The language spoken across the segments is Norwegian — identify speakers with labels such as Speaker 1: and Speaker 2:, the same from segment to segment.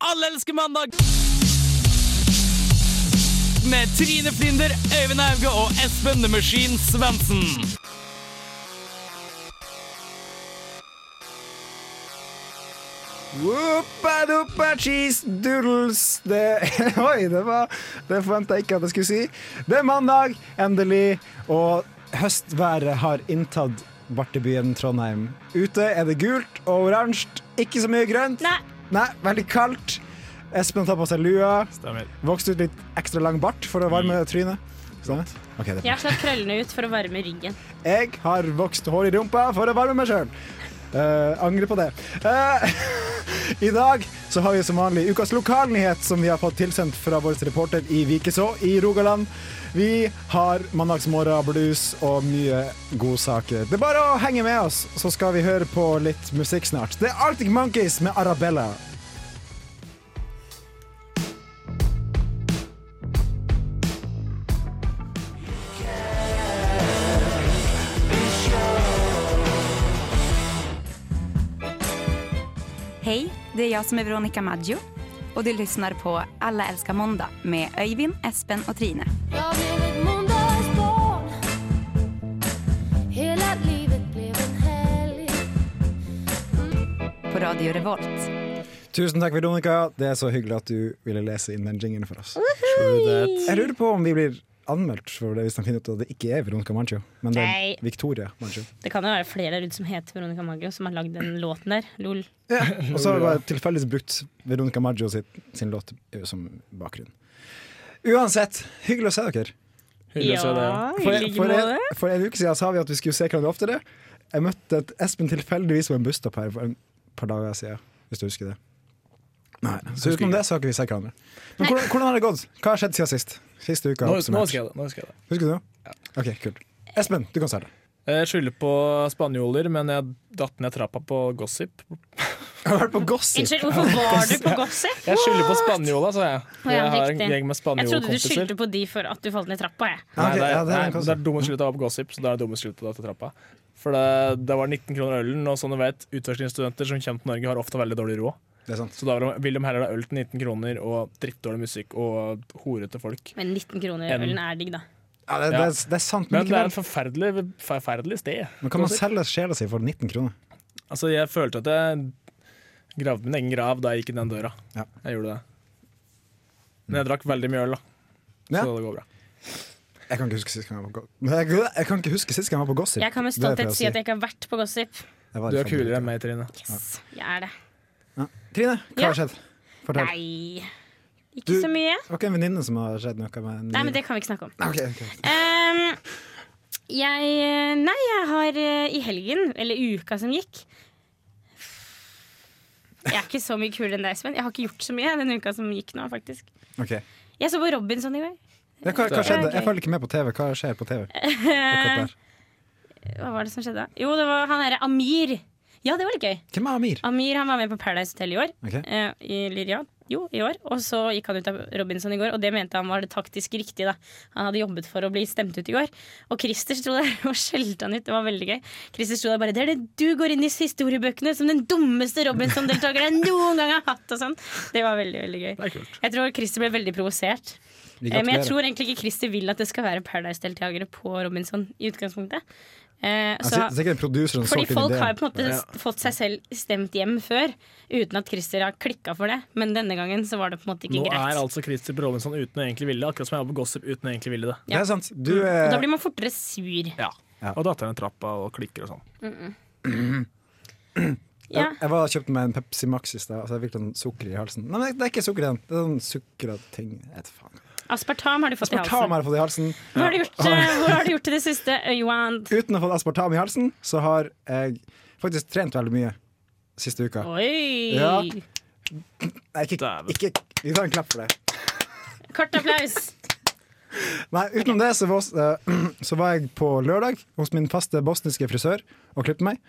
Speaker 1: Alle elsker mandag! Med Trine Flinder, Øyvind Auge og Espen The Machine Svendsen.
Speaker 2: Whoopa-doopa cheese doodles det, Oi, det var Det forventa jeg ikke at jeg skulle si. Det er mandag, endelig, og høstværet har inntatt bartebyen Trondheim. Ute er det gult og oransje, ikke så mye grønt.
Speaker 3: Nei.
Speaker 2: Nei, veldig kaldt. Espen tar på seg lua. Vokste ut litt ekstra lang bart for å varme trynet. Stemmer? Ok, det er
Speaker 3: Jeg har slått krøllene ut for å varme ryggen.
Speaker 2: jeg har vokst hår i rumpa for å varme meg sjøl. angrer på det. Eh, I dag så har vi som vanlig ukas lokalnyhet som vi har fått tilsendt fra vår reporter i Vikeså i Rogaland. Vi har mandagsmorgenblues og mye godsaker. Det er bare å henge med oss, så skal vi høre på litt musikk snart. Det er Arctic Monkeys med Arabella.
Speaker 4: Hej, det är jag som är Veronica Maggio och du lyssnar på Alla älskar måndag med Öyvind, Espen och Trine.
Speaker 5: Jag blev ett måndagsbarn Hela livet blev en helg
Speaker 4: På Radio Revolt.
Speaker 2: Tusen takk, Veronica. Det er så hyggelig at du ville lese inn den jingen for oss.
Speaker 1: True
Speaker 2: Jeg lurer på om vi blir anmeldt for det hvis de finner ut at det ikke er Veronica Mancho, men det
Speaker 3: Nei.
Speaker 2: er Victoria Mancho.
Speaker 3: Det kan jo være flere der ute som heter Veronica Maggio, som har lagd den låten der. Lol.
Speaker 2: Og så har jeg bare tilfeldigvis brukt Veronica Maggio sitt, sin låt ø, som bakgrunn. Uansett, hyggelig å se dere.
Speaker 6: Hyggelig å se deg. ja.
Speaker 3: i
Speaker 2: For,
Speaker 3: like
Speaker 2: for,
Speaker 3: måte.
Speaker 2: en, for en uke siden sa vi at vi skulle se hverandre oftere. Jeg møtte et Espen tilfeldigvis på en busstopp her for et par dager siden. Hvis du husker det. Nei, Så utenom det så har ikke vi sett hverandre. Men hvordan, hvordan har det gått? Hva har skjedd siden sist? Siste uka
Speaker 6: Nå, nå
Speaker 2: oppsummert.
Speaker 6: husker jeg det. Nå husker jeg det.
Speaker 2: Husker du det? Ok, kult. Espen, du kan starte.
Speaker 6: Jeg skylder på spanjoler, men jeg datt ned trappa på gossip.
Speaker 2: Jeg har vært på gossip.
Speaker 3: Unnskyld, hvorfor var du på Gossip?
Speaker 6: Jeg skylder på spanjola, sa jeg.
Speaker 3: Å, ja,
Speaker 6: Jeg har en
Speaker 3: riktig.
Speaker 6: gjeng med
Speaker 3: Jeg trodde du
Speaker 6: spanjolkompiser.
Speaker 3: skyldte på de for at du falt ned trappa. Jeg.
Speaker 2: Ja,
Speaker 6: Nei,
Speaker 2: ok,
Speaker 6: det er,
Speaker 2: ja, det er en
Speaker 6: nei,
Speaker 2: gossip.
Speaker 6: det er dummest skyldt å ha på gossip, så da er det dummest skyldt å dra til trappa. For det, det var 19 kroner ølen, og som du vet, utvekslingsstudenter som kommer til Norge, har ofte veldig dårlig råd.
Speaker 2: Det er sant.
Speaker 6: Så da vil de- vil de heller ha øl til 19 kroner og drittdårlig musikk og horete folk.
Speaker 3: Men 19 kroner
Speaker 6: En-
Speaker 3: ølen er digg, da.
Speaker 2: Ja, det, det, er, det er sant, men
Speaker 6: Men det er et
Speaker 2: likevel.
Speaker 6: forferdelig, forferdelig sted.
Speaker 2: Men kan man
Speaker 6: Gossip.
Speaker 2: selge sjela si for 19 kroner?
Speaker 6: Altså, jeg følte at jeg gravde min egen grav da jeg gikk inn den døra.
Speaker 2: Ja.
Speaker 6: Jeg gjorde det. Men jeg drakk veldig mye øl, da. Så
Speaker 2: Ja.
Speaker 6: det går bra.
Speaker 2: Jeg kan ikke huske sist gang jeg var på, go Men jeg, jeg kan ikke huske sist gang jeg var på Gossip.
Speaker 3: Jeg kan med
Speaker 2: Det er det jeg
Speaker 3: stolthet si
Speaker 2: pleier å
Speaker 3: at jeg ikke har vært på Gossip.
Speaker 2: Jeg var
Speaker 6: Du
Speaker 2: i
Speaker 6: er
Speaker 2: fem
Speaker 6: kulere enn
Speaker 2: minutter.
Speaker 6: meg, Trine.
Speaker 3: Yes, jeg er det.
Speaker 2: Trine, hva
Speaker 3: Ja.
Speaker 2: har skjedd? Fortell.
Speaker 3: Nei, ikke
Speaker 2: Du-
Speaker 3: så mye.
Speaker 2: Det var ikke en venninne som har skjedd noe med en
Speaker 3: Nei, men det kan vi ikke snakke om.
Speaker 2: Nei, ok, ok.
Speaker 3: Ehm, jeg Nei, jeg har eh, i helgen, eller i uka som gikk Jeg er ikke så mye kulere enn deg, Espen. Jeg har ikke gjort så mye den uka som gikk nå, faktisk.
Speaker 2: Ok.
Speaker 3: Jeg så på Robinson i går.
Speaker 2: Ja, hva, hva skjedde?
Speaker 3: Ok.
Speaker 2: Jeg følger ikke med på TV. Hva skjer på TV? Akkurat der.
Speaker 3: Hva var det som skjedde? da? Jo, det var han derre Amir. Ja, det var litt gøy.
Speaker 2: Hvem er Amir?
Speaker 3: Amir han var med på Paradise Hotel i år.
Speaker 2: Ok.
Speaker 3: eh, I Lyria. Jo, i år. Og så gikk han ut av Robinson i går, og det mente han var det taktisk riktige. da. Han hadde jobbet for å bli stemt ut i går. Og Christer sto der og skjelte han ut. Det var veldig gøy. Christer sto der bare Det er det du går inn i historiebøkene som den dummeste Robinson-deltakeren jeg noen gang har hatt! Og sånn. Det var veldig, veldig gøy.
Speaker 6: Det er kult.
Speaker 3: Jeg tror Christer ble veldig provosert.
Speaker 2: Vi
Speaker 3: Eh, Men jeg
Speaker 2: gratulerer.
Speaker 3: tror egentlig ikke Christer vil at det skal være Paradise-deltakere på Robinson i utgangspunktet. Eh,
Speaker 2: Ja, si- Sikkert produseren
Speaker 3: fordi
Speaker 2: solgte inn
Speaker 3: folk
Speaker 2: ideen.
Speaker 3: har jo på en måte
Speaker 6: Ja.
Speaker 3: s- fått seg selv stemt hjem før, uten at Christer har klikka for det. Men denne gangen så var det på en måte ikke
Speaker 6: Nå
Speaker 3: greit.
Speaker 6: er altså Christer Brålinson uten å egentlig ville det, akkurat som jeg var på Gossip uten å egentlig ville det.
Speaker 2: Det er sant. Du
Speaker 3: Mm, Og
Speaker 2: er
Speaker 3: da blir man fortere sur.
Speaker 6: Ja.
Speaker 2: Ja.
Speaker 6: Og datteren i trappa og klikker og sånn.
Speaker 3: Ja.
Speaker 2: eh, Jeg, jeg var og kjøpte meg en Pepsi Max i stad, så jeg fikk sånn sukker i halsen. Nei, men det er ikke sukker igjen. Det er sånn sukker og ting. Jeg vet faen.
Speaker 3: Aspartam har du fått i
Speaker 2: Aspartam
Speaker 3: halsen.
Speaker 2: har jeg fått i halsen.
Speaker 3: Hva har du gjort, eh, hvor har du gjort i det siste? Eh, Johan?
Speaker 2: Uten å få aspartam i halsen, så har jeg faktisk trent veldig mye siste uka.
Speaker 3: Oi!
Speaker 2: Ja. Nei, ikke,
Speaker 6: Dæven.
Speaker 2: ikke Vi tar en klapp for det.
Speaker 3: Kort applaus.
Speaker 2: Nei, utenom det så var, eh, så var jeg på lørdag hos min faste bosniske frisør og klippet meg.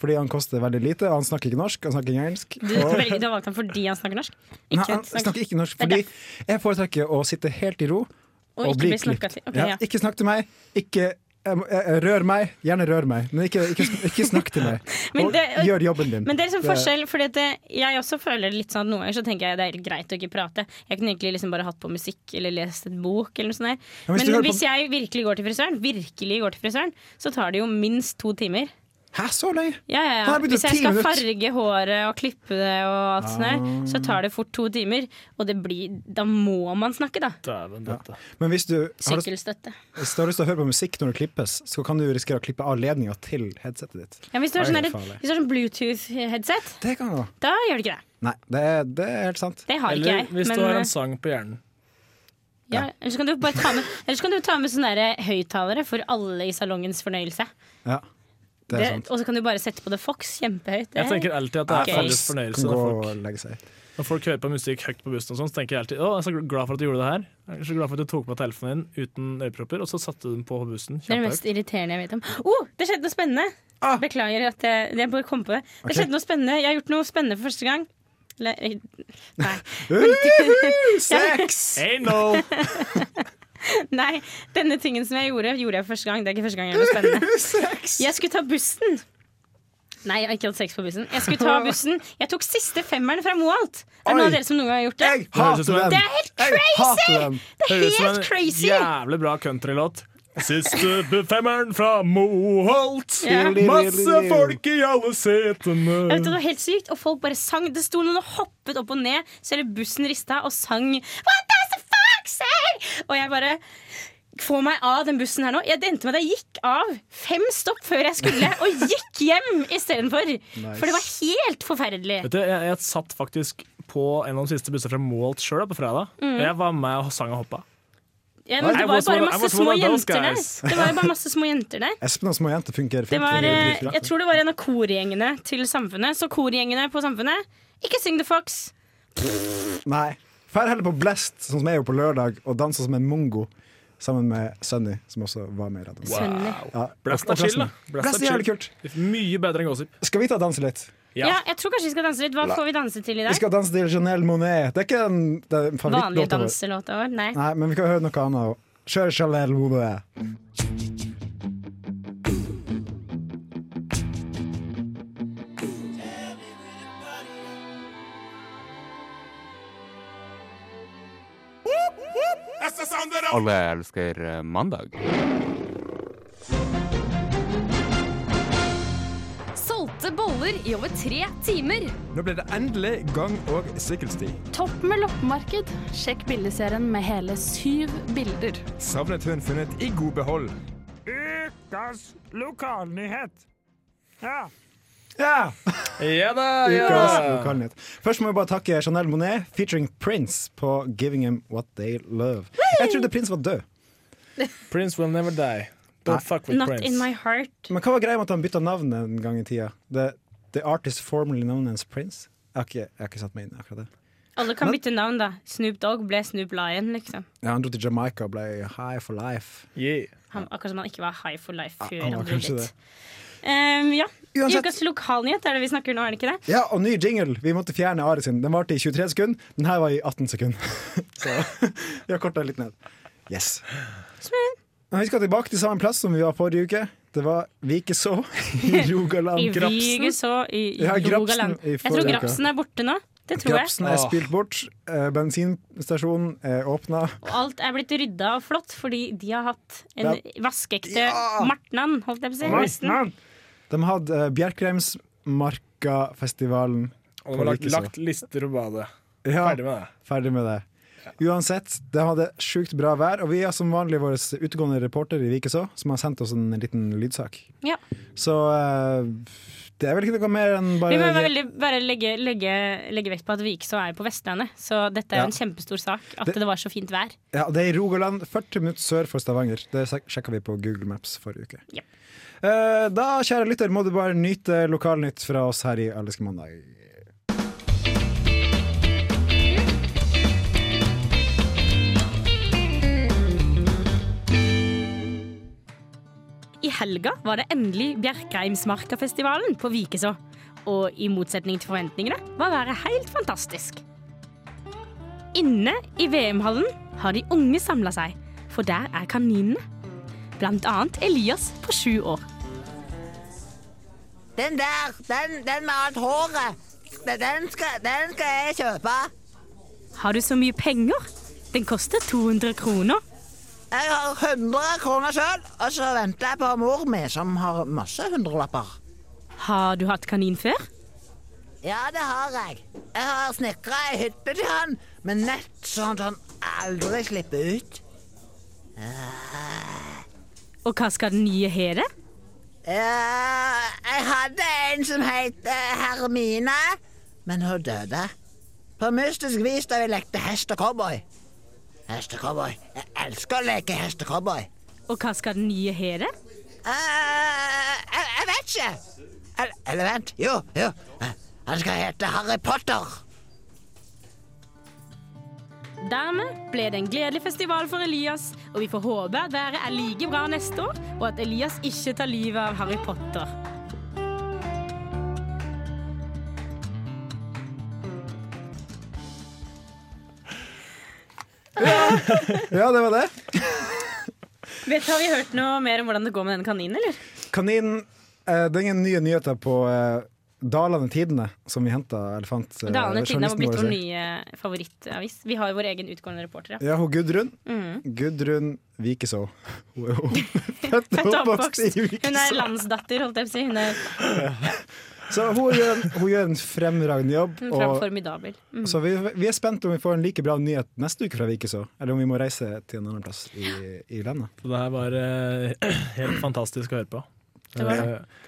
Speaker 2: Fordi han koster veldig lite, og han snakker ikke norsk, han snakker ikke engelsk.
Speaker 3: Du,
Speaker 2: Og-
Speaker 3: velger, du har valgt ham fordi han snakker norsk?
Speaker 2: Nei,
Speaker 3: Ikke
Speaker 2: han snakker ikke norsk,
Speaker 3: Det er
Speaker 2: fordi jeg foretrekker å sitte helt i ro
Speaker 3: Og ikke bli snakket til. Ok, ja.
Speaker 2: Ikke snakk til meg, ikke eh, jeg må- jeg- jeg- Rør meg. Gjerne rør meg, men ikke, ikke, ikke snakk til meg.
Speaker 3: Men
Speaker 2: Og
Speaker 3: det-
Speaker 2: gjør jobben din.
Speaker 3: Men det er liksom
Speaker 2: Det er-
Speaker 3: forskjell, fordi at det- jeg også føler litt sånn at noen ganger så tenker jeg det er helt greit å ikke prate. Jeg kunne egentlig liksom bare hatt på musikk eller lest et bok eller noe sånt. Der.
Speaker 2: Ja, hvis
Speaker 3: Men
Speaker 2: du hører på-
Speaker 3: hvis jeg virkelig går til frisøren, virkelig går til frisøren, så tar det jo minst to timer.
Speaker 2: Hæ, så lenge?
Speaker 3: Ja, ja, ja.
Speaker 2: Her blir det
Speaker 3: Hvis jeg
Speaker 2: ti
Speaker 3: skal
Speaker 2: minutter.
Speaker 3: farge håret og klippe det og alt sånt
Speaker 2: Ah.
Speaker 3: der, så tar det fort to timer. Og det blir Da må man snakke, da.
Speaker 6: Dæven døtte.
Speaker 2: Men hvis du har lyst,
Speaker 3: Sykkelstøtte.
Speaker 2: hvis du har lyst til å høre på musikk når du klippes, så kan du risikere å klippe av ledninga til headsetet ditt.
Speaker 3: Ja, hvis du
Speaker 2: Oi,
Speaker 3: har sånn
Speaker 2: det
Speaker 3: der-
Speaker 2: er farlig.
Speaker 3: hvis du har sånn Bluetooth-headset,
Speaker 2: Det kan gå.
Speaker 3: da gjør det ikke det.
Speaker 2: Nei, det er, det er helt sant.
Speaker 3: Det har ikke
Speaker 6: Eller
Speaker 3: jeg.
Speaker 6: hvis
Speaker 3: men,
Speaker 6: du har
Speaker 3: eh,
Speaker 6: en sang på hjernen.
Speaker 2: Ja.
Speaker 3: Ja, ellers kan du bare ta med, ellers kan du ta med sånne der høyttalere for alle i salongens fornøyelse.
Speaker 2: Ja, det er
Speaker 3: Det,
Speaker 2: sant.
Speaker 3: og så kan du bare sette på det Fox kjempehøyt. Det
Speaker 6: Jeg tenker alltid at det
Speaker 3: Ok.
Speaker 6: er felles
Speaker 2: Kan
Speaker 6: fornøyelse
Speaker 2: gå
Speaker 6: når folk,
Speaker 2: og legge seg.
Speaker 6: når folk hører på musikk høyt på bussen. og sånn, Så tenker jeg alltid å, jeg er så glad for at du gjorde det her. Jeg er så glad for at du tok på telefonen din uten ørepropper, og så satte du den på på bussen.
Speaker 3: det er det
Speaker 6: Kjempehøyt. Ah!
Speaker 3: mest irriterende jeg vet om. Oh, det skjedde noe spennende! Beklager at jeg, jeg bare kom på det. Det skjedde noe spennende. Jeg har gjort noe spennende for første gang. Le, nei.
Speaker 2: Uhuhu, Sex!
Speaker 6: Hey, no!
Speaker 3: nei. Denne tingen som jeg gjorde, gjorde jeg for første gang. Det er ikke første gang jeg gjør noe spennende.
Speaker 2: Sex!
Speaker 3: Jeg skulle ta bussen. Nei, jeg har ikke hatt sex på bussen. Jeg skulle ta bussen. Jeg tok siste femmeren fra Moholt. Er det
Speaker 2: Oi.
Speaker 3: noen av dere som noen gang har gjort det?
Speaker 2: Jeg
Speaker 6: høres
Speaker 2: hater
Speaker 6: ut som en-
Speaker 2: den!
Speaker 3: Det er helt
Speaker 2: Jeg hater den!
Speaker 3: Det er
Speaker 6: Høres ut som
Speaker 3: helt
Speaker 6: en
Speaker 3: crazy!
Speaker 6: Jævlig bra countrylåt. Siste bu- femmeren fra Moholt.
Speaker 3: Ja.
Speaker 6: Masse folk i alle setene.
Speaker 3: Jeg vet, det var helt sykt, og folk bare sang. Det sto noen og hoppet opp og ned, så hele bussen rista og sang What does the fuck say? Og jeg bare Få meg av den bussen her nå. Jeg, det endte med at jeg gikk av fem stopp før jeg skulle, og gikk hjem istedenfor. For det var helt forferdelig.
Speaker 6: Vet du, jeg, jeg satt faktisk på en av de siste bussene fra Moholt sjøl på fredag.
Speaker 3: Mm.
Speaker 6: Jeg var med og sang og hoppa.
Speaker 3: Ja, men
Speaker 6: I
Speaker 3: det var
Speaker 6: was
Speaker 3: jo bare
Speaker 6: one- I
Speaker 3: masse
Speaker 6: was
Speaker 3: små
Speaker 6: one of those
Speaker 3: jenter der.
Speaker 6: guys.
Speaker 3: Det var jo bare masse små jenter der.
Speaker 2: Espen og små jenter funker
Speaker 3: Det
Speaker 2: fint.
Speaker 3: var, eh,
Speaker 2: dritbra.
Speaker 6: altså.
Speaker 3: jeg tror det var en av korgjengene til Samfunnet. Så korgjengene på Samfunnet, ikke syng The Fox.
Speaker 2: Nei. Fær heller på Blest, sånn som jeg gjorde på lørdag, og dansa som en mongo sammen med Sunny, som også var med i radioen.
Speaker 3: Sunny.
Speaker 2: Ja,
Speaker 6: Blast
Speaker 2: og-
Speaker 6: er
Speaker 2: og
Speaker 6: chill, da. Blast
Speaker 2: Blast
Speaker 6: er
Speaker 2: er jævlig kult.
Speaker 6: Mye bedre enn gossip.
Speaker 2: Skal vi ta og danse litt?
Speaker 3: Ja, jeg tror kanskje vi skal danse litt. Hva får vi danse til i
Speaker 2: Vi
Speaker 3: dag?
Speaker 2: skal danse til Janelle Monet. Det er ikke en, det er en
Speaker 3: Vanlige
Speaker 2: favorittlåt. av-
Speaker 3: danselåter vår? Nei.
Speaker 2: Nei, men vi kan høre noe annet. også. Kjør Janelle Monet.
Speaker 7: Alle elsker eh, mandag.
Speaker 8: Solgte boller i over tre timer.
Speaker 9: Nå ble det endelig gang- og sykkelsti.
Speaker 8: Topp med loppemarked. Sjekk bildeserien med hele syv bilder.
Speaker 9: Savnet hun funnet i god behold.
Speaker 2: Ja!
Speaker 6: Ja da, ja
Speaker 2: Ukas
Speaker 6: da.
Speaker 2: lokalnytt. Først må vi bare takke Janelle Monet featuring Prince på 'Giving Him What They Love'. Jeg trodde Prince var død.
Speaker 6: Prince will never die. Don't fuck with
Speaker 3: Not in
Speaker 6: Prince.
Speaker 3: my heart.
Speaker 2: Men hva var greia med at han bytta navn en gang i tida? The, the artist formerly known as Prince? Jeg har ikke, jeg har ikke satt meg inn i akkurat det.
Speaker 3: Alle kan bytte navn, da. Snoop Dogg ble Snoop Lion, liksom.
Speaker 2: Ja, han dro til Jamaica og ble high for life.
Speaker 6: Yeah.
Speaker 3: Han, akkurat som han ikke var high for life før
Speaker 2: Ah, han
Speaker 3: han
Speaker 2: var
Speaker 3: ble
Speaker 2: kanskje
Speaker 3: litt. Um, ja.
Speaker 2: Uansett.
Speaker 3: Ukas lokalnyhet er det vi snakker nå, er det ikke det?
Speaker 2: Ja, og ny jingle. Vi måtte fjerne Ari sin. Den varte i 23 sekunder. Den her var i 18 sekunder. Så vi har korta litt ned. Yes. Men vi skal tilbake til samme plass som vi var forrige uke. Det var Vikeså i
Speaker 3: I
Speaker 2: Rogaland.
Speaker 3: Vigu så i
Speaker 2: Ja, Grapsen
Speaker 3: Rogaland.
Speaker 2: i
Speaker 3: Jeg tror
Speaker 2: forrige uke.
Speaker 3: Grapsen er borte nå. Det tror jeg.
Speaker 2: Grapsen
Speaker 6: Ah.
Speaker 2: er spilt bort. Eh, Bensinstasjonen er åpna.
Speaker 3: Og alt er blitt rydda og flott, fordi de har hatt en vaskeekte
Speaker 2: Ja!
Speaker 3: martnan, holdt jeg på å si. Nesten.
Speaker 2: De hadde eh, Bjerkreimsmarkafestivalen.
Speaker 6: Og de har lagt,
Speaker 2: Påvirkes av.
Speaker 6: lagt lister og badet.
Speaker 2: Ja,
Speaker 6: Ferdig med det.
Speaker 2: ferdig med det. Uansett, de hadde sjukt bra vær, og vi har som vanlig vår utegående reporter i Vikeså, som har sendt oss en liten lydsak.
Speaker 3: Ja.
Speaker 2: Så eh, det er vel ikke noe mer enn
Speaker 3: Vi
Speaker 2: bare
Speaker 3: må bare, veldig, bare legge, legge, legge vekt på at Vikså er på Vestlandet, så dette er
Speaker 2: Ja.
Speaker 3: jo en kjempestor sak at
Speaker 2: Det-
Speaker 3: det, var så fint vær.
Speaker 2: ja, Det er i Rogaland, 40 minutter sør for Stavanger. Det sjek- sjekka vi på Google Maps forrige uke.
Speaker 3: Ja.
Speaker 2: Eh, Da, kjære lytter, må du bare nyte lokalnytt fra oss her i Allerske mandag.
Speaker 3: I helga var det endelig Bjerkreimsmarkafestivalen på Vikeså. Og i motsetning til forventningene var været helt fantastisk. Inne i VM-hallen har de unge samla seg, for der er kaninene. Blant annet Elias på sju år.
Speaker 10: Den der, den, den med alt håret, den- den skal, den skal jeg kjøpe.
Speaker 3: Har du så mye penger? Den koster 200 kroner.
Speaker 10: Jeg har 100 kroner sjøl, og så venter jeg på mor mi, som har masse hundrelapper.
Speaker 3: Har du hatt kanin før?
Speaker 10: Ja, det har jeg. Jeg har snekra ei hytte til han, med nett sånn at han aldri slipper ut.
Speaker 3: Og hva skal den nye hete?
Speaker 10: Eh, jeg hadde en som het eh, Hermine, men hun døde. På mystisk vis da vi lekte hest og cowboy. Hest og cowboy. Jeg elsker å leke hest og cowboy.
Speaker 3: Og hva skal den nye hete?
Speaker 10: Eh, jeg, jeg vet ikke. Eller, eller vent. Jo, jo. Eh, Han skal hete Harry Potter.
Speaker 3: Dermed ble det en gledelig festival for Elias, og vi får håpe at været er like bra neste år, og at Elias ikke tar livet av Harry Potter.
Speaker 2: Ja, det var det.
Speaker 3: Vet du, Har vi hørt noe mer om hvordan det går med den kaninen, eller?
Speaker 2: Kaninen eh, Det er ingen nye nyheter på eh, Dalane Tidene, som vi henta elefant... eh,
Speaker 3: Dalane Tidende har
Speaker 2: journalisten
Speaker 3: blitt
Speaker 2: vår
Speaker 3: vår
Speaker 2: sier.
Speaker 3: nye favorittavis. Vi har jo vår egen utgående reporter. Ja.
Speaker 2: Ja, hun Gudrun.
Speaker 3: Mhm.
Speaker 2: Gudrun Vikeså. Hun er hun- Født
Speaker 3: Født
Speaker 2: og
Speaker 3: og
Speaker 2: oppvokst i
Speaker 3: oppvokst. Hun er
Speaker 2: Vikeså.
Speaker 3: landsdatter, holdt jeg på å si. Hun er
Speaker 2: Så hun gjør, en- hun gjør en fremragende jobb.
Speaker 3: hun er
Speaker 2: Og,
Speaker 3: formidabel. Mm.
Speaker 2: så vi, vi er spent om vi får en like bra nyhet neste uke fra Vikeså, eller om vi må reise til en annen plass i, i landet.
Speaker 6: Det her var eh, helt fantastisk å høre på.
Speaker 3: Det var
Speaker 6: Eh,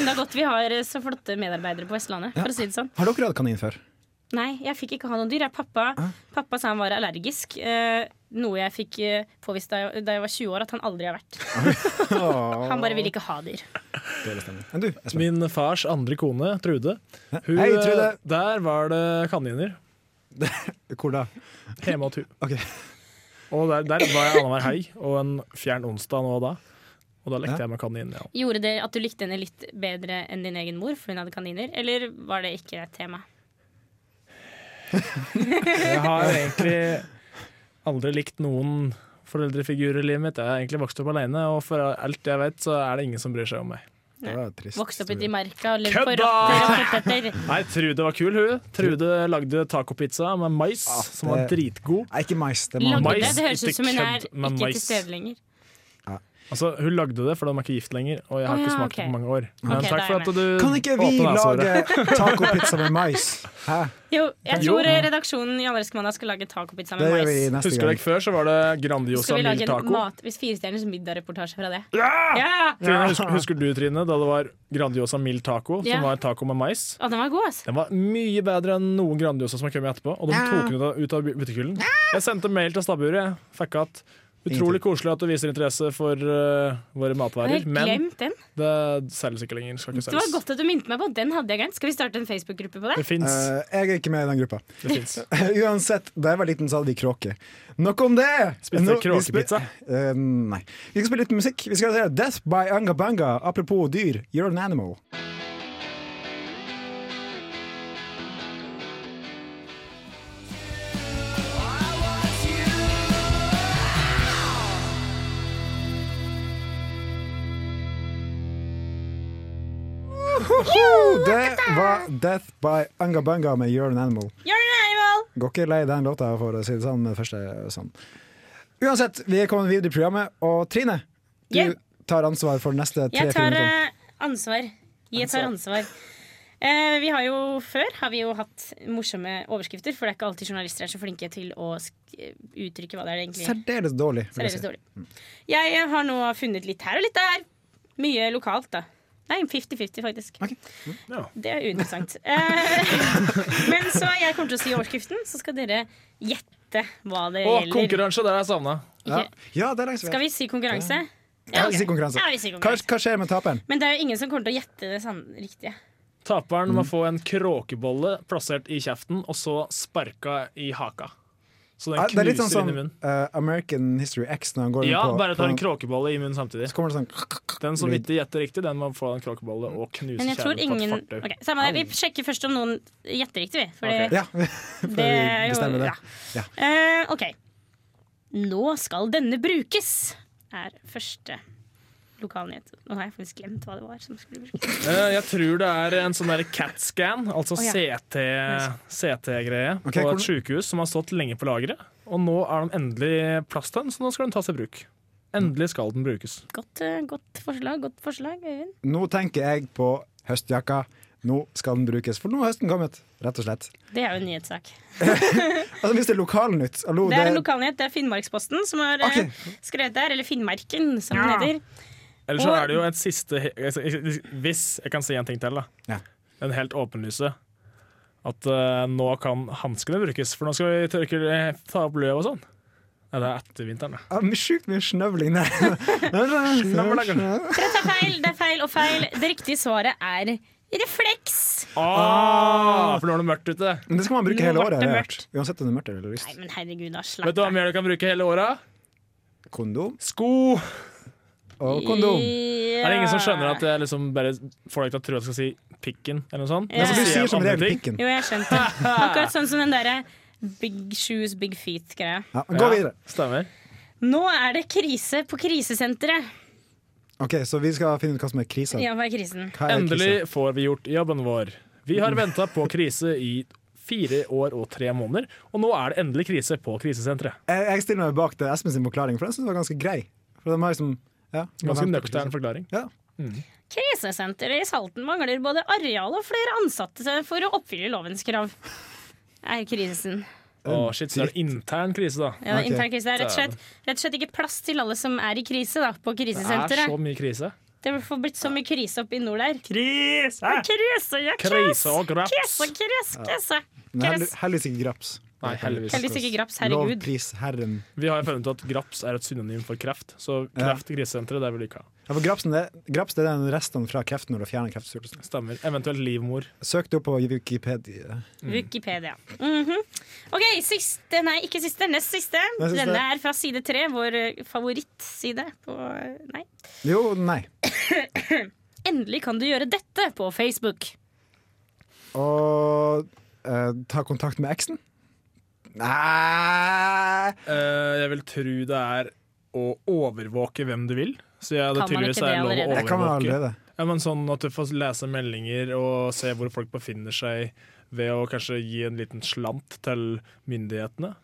Speaker 3: Enda godt vi har så flotte medarbeidere på Vestlandet, for å si det sånn.
Speaker 2: Har dere hatt kanin før?
Speaker 3: Nei, jeg fikk ikke ha noen dyr. Jeg, pappa, pappa sa han var allergisk. eh, noe jeg fikk eh, påvist da jeg, da jeg var 20 år, at han aldri har vært. Han bare ville ikke ha dyr.
Speaker 2: Enn du, Espen?
Speaker 6: Min fars andre kone, Trude. Hun, eh,
Speaker 2: Hei, Trude.
Speaker 6: Der var det kaniner
Speaker 2: Hvor da?
Speaker 6: hjemme hos hun.
Speaker 2: Ok.
Speaker 6: Og der, der var jeg annenhver helg og en fjern onsdag nå og da. Og da lekte
Speaker 2: Ja.
Speaker 6: jeg med kanin. Ja.
Speaker 3: Gjorde det at du likte henne litt bedre enn din egen mor, for hun hadde kaniner? Eller var det ikke et tema?
Speaker 6: Jeg har egentlig aldri likt noen foreldrefigurer i livet mitt. Jeg har egentlig vokst opp alene, og for alt jeg vet, så er det ingen som bryr seg om meg.
Speaker 2: Det var trist.
Speaker 3: Vokste opp ute i marka og levde på
Speaker 6: Kødda!
Speaker 3: rotter og poteter.
Speaker 6: Nei, Trude var kul, hun. Trude lagde tacopizza med mais,
Speaker 2: Ah,
Speaker 6: som var
Speaker 2: det-
Speaker 6: dritgod.
Speaker 2: Nei, ikke mais. Det
Speaker 3: Lagde
Speaker 2: må
Speaker 6: Mais,
Speaker 3: det. Det høres
Speaker 6: ikke
Speaker 3: ut som hun er
Speaker 6: kødd, men
Speaker 3: ikke til
Speaker 6: mais.
Speaker 3: stede lenger.
Speaker 6: Altså, hun lagde det, for de er ikke gift lenger, og jeg har
Speaker 3: Å,
Speaker 6: ikke
Speaker 3: ja,
Speaker 6: smakt det
Speaker 3: ok.
Speaker 6: på mange år.
Speaker 3: Ok,
Speaker 6: Men
Speaker 3: da er
Speaker 6: takk for
Speaker 3: jeg
Speaker 6: at du
Speaker 2: Kan ikke vi
Speaker 6: åpnet nesehåret.
Speaker 2: lage tacopizza med mais? Hæ?
Speaker 3: Jo, jeg
Speaker 6: Jo.
Speaker 3: tror redaksjonen i Allerske Mandag skal lage tacopizza
Speaker 2: Det
Speaker 3: med
Speaker 2: gjør vi
Speaker 3: mais.
Speaker 2: neste
Speaker 6: Husker
Speaker 2: gang.
Speaker 6: dere før så var det Grandiosa
Speaker 3: Skal vi
Speaker 6: mild
Speaker 3: lage en
Speaker 6: taco?
Speaker 3: mat hvis firestjerners middag-reportasje fra det? Ja!
Speaker 6: Trine, husker, husker du Trine da det var Grandiosa mild taco,
Speaker 3: Ja.
Speaker 6: som var taco med mais?
Speaker 3: Å, den var god, altså.
Speaker 6: Den var mye bedre enn noen Grandiosa som har kommet etterpå. Og de tok den ut av- ut av butikkhyllen. Jeg sendte mail til stabburet. jeg. Fikk at Utrolig koselig at du viser interesse for eh, våre
Speaker 3: Jeg har
Speaker 6: matvarer,
Speaker 3: helt
Speaker 6: men
Speaker 3: glemt den.
Speaker 6: det selges ikke lenger. Skal ikke
Speaker 3: Det var
Speaker 6: selges.
Speaker 3: godt at du minte meg på den. hadde jeg glemt Skal vi starte en Facebook-gruppe på det?
Speaker 6: Det fins.
Speaker 2: Eh, jeg er ikke med i den gruppa.
Speaker 6: Det fins.
Speaker 2: Uansett, da jeg var liten, så hadde vi kråke. Nok om det!
Speaker 6: Spiste
Speaker 2: Nå- vi
Speaker 6: kråkepizza?
Speaker 2: spi- Eh, nei. Vi skal spille litt musikk. Vi skal høre Death by Anga Banga. Apropos dyr, you're an animal. Woohoo! Det var Death by Anga Banga med You're an Animal.
Speaker 3: You're an animal!
Speaker 2: Går ikke lei den låta, for å si det sånn. Med første sånn. Uansett, vi er kommet videre i programmet, og Trine, du
Speaker 3: Yeah.
Speaker 2: tar ansvar for neste tre
Speaker 3: Jeg tar
Speaker 2: filmer.
Speaker 3: eh, ansvar. Jeg tar ansvar. Eh, vi har jo Før har vi jo hatt morsomme overskrifter, for det er ikke alltid journalister er så flinke til å sk eh, uttrykke hva det er det egentlig
Speaker 2: Særdeles dårlig. vil jeg
Speaker 3: Særdeles
Speaker 2: si.
Speaker 3: dårlig. Jeg har nå funnet litt her og litt der. Mye lokalt, da. Nei, 50-50, faktisk.
Speaker 2: Ok.
Speaker 6: ja.
Speaker 3: Det er uinteressant. Eh, Men så jeg kommer til å si overskriften, så skal dere gjette hva det
Speaker 6: Og
Speaker 3: gjelder.
Speaker 6: konkurranse, der har jeg savna.
Speaker 2: Ja.
Speaker 3: Ikke-
Speaker 2: ja, det er lenge
Speaker 3: Skal vi si konkurranse?
Speaker 2: Ja,
Speaker 3: ok.
Speaker 2: si konkurranse.
Speaker 3: Ja, vi sier
Speaker 2: Hva,
Speaker 3: konkurranse.
Speaker 2: hva skjer med taperen?
Speaker 3: Men det er jo ingen som kommer til å gjette det sann- riktige.
Speaker 6: Taperen
Speaker 2: Mm.
Speaker 6: må få en kråkebolle plassert i kjeften, og så sparka i haka. Så den
Speaker 2: Ah, Det er litt
Speaker 6: knuser
Speaker 2: sånn som
Speaker 6: inn i munnen.
Speaker 2: eh, American History X når han går inn
Speaker 6: Ja,
Speaker 2: på,
Speaker 6: bare tar en
Speaker 2: på
Speaker 6: kråkebolle i munnen samtidig.
Speaker 2: Så kommer det sånn
Speaker 6: Den som
Speaker 2: Lyd.
Speaker 6: ikke gjetter riktig, den må få en kråkebolle og knuse
Speaker 3: Men jeg tror
Speaker 6: kjeven på
Speaker 3: ingen
Speaker 6: et fortau.
Speaker 3: Ok, samme det. Vi sjekker først om noen gjetter riktig, vi. For
Speaker 6: Ok.
Speaker 3: det,
Speaker 2: Ja, for
Speaker 3: det
Speaker 2: vi bestemmer det.
Speaker 3: Ja. Eh, OK. Nå skal denne brukes, er første lokalnyhet. Nå har jeg faktisk glemt hva det var som skulle bli
Speaker 6: Eh, Jeg tror det er en sånn der CAT-scan, altså
Speaker 3: Å, ja.
Speaker 6: CT CT-greie,
Speaker 2: Ok,
Speaker 6: på
Speaker 2: hvordan-
Speaker 6: et sykehus som har stått lenge på lageret. Og nå er de endelig plass til den, så nå skal den tas i bruk. Endelig skal den brukes.
Speaker 3: Godt, eh, godt forslag, godt forslag, Øyvind.
Speaker 2: Nå tenker jeg på høstjakka. Nå skal den brukes, for nå er høsten kommet. Rett og slett.
Speaker 3: Det er jo en nyhetssak.
Speaker 2: Altså Hvis det er lokalnytt hallo,
Speaker 3: Det er en
Speaker 2: det-
Speaker 3: lokalnyhet. Det er Finnmarksposten som har eh,
Speaker 2: Ok.
Speaker 3: skrevet det her. Eller Finnmarken, som den heter.
Speaker 6: Eller så
Speaker 3: Og-
Speaker 6: er det jo et siste he- Hvis jeg kan si en ting til, da.
Speaker 2: Ja.
Speaker 6: Den helt åpenlyse. At eh, nå kan hanskene brukes, for nå skal vi tørke ta opp løv og sånn. Nei, det er etter vinteren, det.
Speaker 2: Ja, men ah, Sjukt mye snøvling der. sånn-
Speaker 3: Dere tar feil, det er feil og feil. Det riktige svaret er refleks.
Speaker 6: Ah, for nå er det mørkt ute.
Speaker 2: Men det skal man bruke
Speaker 3: Nå
Speaker 2: hele
Speaker 3: ble
Speaker 2: året.
Speaker 3: det
Speaker 2: har jeg
Speaker 3: mørkt.
Speaker 2: hørt. Uansett om det er mørkt eller lyst.
Speaker 3: Nei, men herregud, da. Slapp
Speaker 6: Vet du hva mer du kan bruke hele året?
Speaker 2: Kondom
Speaker 6: Sko!
Speaker 2: og kondom.
Speaker 6: Er det ingen som skjønner at jeg liksom bare får deg til å tro at jeg skal si pikken, eller noe sånt?
Speaker 3: Ja.
Speaker 6: Men så
Speaker 2: Du
Speaker 6: sier
Speaker 2: sier
Speaker 6: jeg
Speaker 2: som
Speaker 6: andre
Speaker 2: regel
Speaker 6: ting.
Speaker 2: pikken.
Speaker 3: Jo, jeg skjønte. Akkurat sånn som den derre Big shoes, big feet-greia.
Speaker 2: Ja, men gå
Speaker 6: Ja,
Speaker 2: videre.
Speaker 6: Stemmer.
Speaker 3: Nå er det krise på krisesenteret.
Speaker 2: Ok, Så vi skal finne ut hva som er krisa.
Speaker 3: Ja, hva er krisen?
Speaker 2: Hva er
Speaker 6: Endelig
Speaker 2: krisa?
Speaker 6: får vi gjort jobben vår. Vi har venta på krise i fire år og tre måneder, og nå er det endelig krise på krisesenteret.
Speaker 2: Jeg, jeg stiller meg bak til Espen sin forklaring, for den synes jeg var ganske grei. For de har liksom, ja,
Speaker 6: Ganske nøktern forklaring.
Speaker 2: Ja.
Speaker 3: Krisesenteret i Salten mangler både areal og flere ansatte for å oppfylle lovens krav. Er krisen.
Speaker 6: Å, shit, så er det intern krise, da.
Speaker 3: Ja,
Speaker 2: Ok.
Speaker 3: intern krise. Det er rett og, slett, rett og slett ikke plass til alle som er i krise da, på
Speaker 6: Det er så
Speaker 3: krisesenteret.
Speaker 6: mye krise.
Speaker 3: Det får blitt så mye krise oppe i nord der.
Speaker 6: Krise!
Speaker 3: Krise, ja,
Speaker 6: Krise og graps.
Speaker 3: Krise, krise, krise.
Speaker 2: Men hell-
Speaker 3: Krise.
Speaker 2: heldigvis ikke graps.
Speaker 6: Nei, heldigvis.
Speaker 3: Heldigvis ikke graps, herregud.
Speaker 2: Lovprisherren.
Speaker 6: Vi har jo funnet ut at graps er et synonym for kreft, så kreft i krisesenteret, det vil vi ikke ha.
Speaker 2: Ja, for grapsen, det, graps det er den resten fra kreften når du fjerner kreftsvulsten.
Speaker 6: Stemmer. Eventuelt livmor.
Speaker 2: Søk det opp på Wikipedia.
Speaker 3: Wikipedia. Mhm. OK, siste, nei, ikke siste, nest siste.
Speaker 2: Nest siste.
Speaker 3: Denne er fra side tre, vår eh, favorittside på eh, Nei.
Speaker 2: Jo, nei.
Speaker 3: Endelig kan du gjøre dette på Facebook.
Speaker 2: Og eh, ta kontakt med eksen? Nei
Speaker 6: Eh, jeg vil tro det er å overvåke hvem du vil. Så ja, det
Speaker 3: Kan man
Speaker 6: tydeligvis
Speaker 3: ikke det
Speaker 6: er lov å
Speaker 3: allerede?
Speaker 2: Det kan man
Speaker 6: overvåke.
Speaker 2: allerede.
Speaker 6: Ja, men sånn at du får lese meldinger og se hvor folk befinner seg, ved å kanskje gi en liten slant til myndighetene.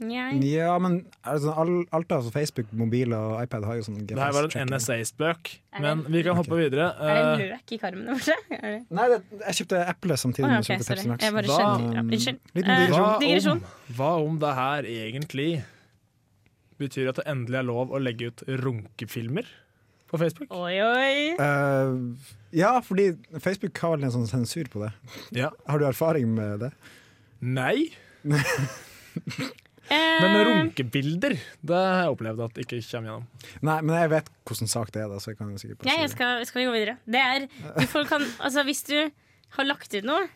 Speaker 3: Njei.
Speaker 2: Ja, men altså, all, alt av Facebook, mobil og iPad har jo sånn
Speaker 6: Det her var en
Speaker 2: GPS-sjekking.
Speaker 6: NSA-spøk,
Speaker 3: Er det-
Speaker 6: men vi kan hoppe videre.
Speaker 3: Er det en
Speaker 6: Eh,
Speaker 3: løk i karmen der borte? Er det-
Speaker 2: Nei, det, jeg kjøpte eple samtidig
Speaker 3: Å, ja,
Speaker 2: med
Speaker 3: ok,
Speaker 2: jeg kjøpte
Speaker 3: sorry.
Speaker 2: Pepsi Max.
Speaker 3: Jeg bare
Speaker 2: Da,
Speaker 3: skjønte- ja,
Speaker 2: um,
Speaker 3: unnskyld.
Speaker 2: Liten
Speaker 3: Eh,
Speaker 2: digresjon.
Speaker 6: hva, om,
Speaker 3: Digresjon.
Speaker 6: hva om det her egentlig betyr at det endelig er lov å legge ut runkefilmer på Facebook?
Speaker 3: Oi, oi.
Speaker 2: Eh, ja, fordi Facebook har vel en sånn sensur på det.
Speaker 6: Ja.
Speaker 2: Har du erfaring med det?
Speaker 6: Nei,
Speaker 3: Eh,
Speaker 6: men runkebilder det har jeg opplevd at ikke kommer gjennom.
Speaker 2: Nei, men jeg vet hvordan sak det er, da, så jeg kan jo sikkert
Speaker 3: ja, jeg
Speaker 2: si det.
Speaker 3: skal, skal vi gå videre. Det er du får, kan, Altså, hvis du har lagt ut noe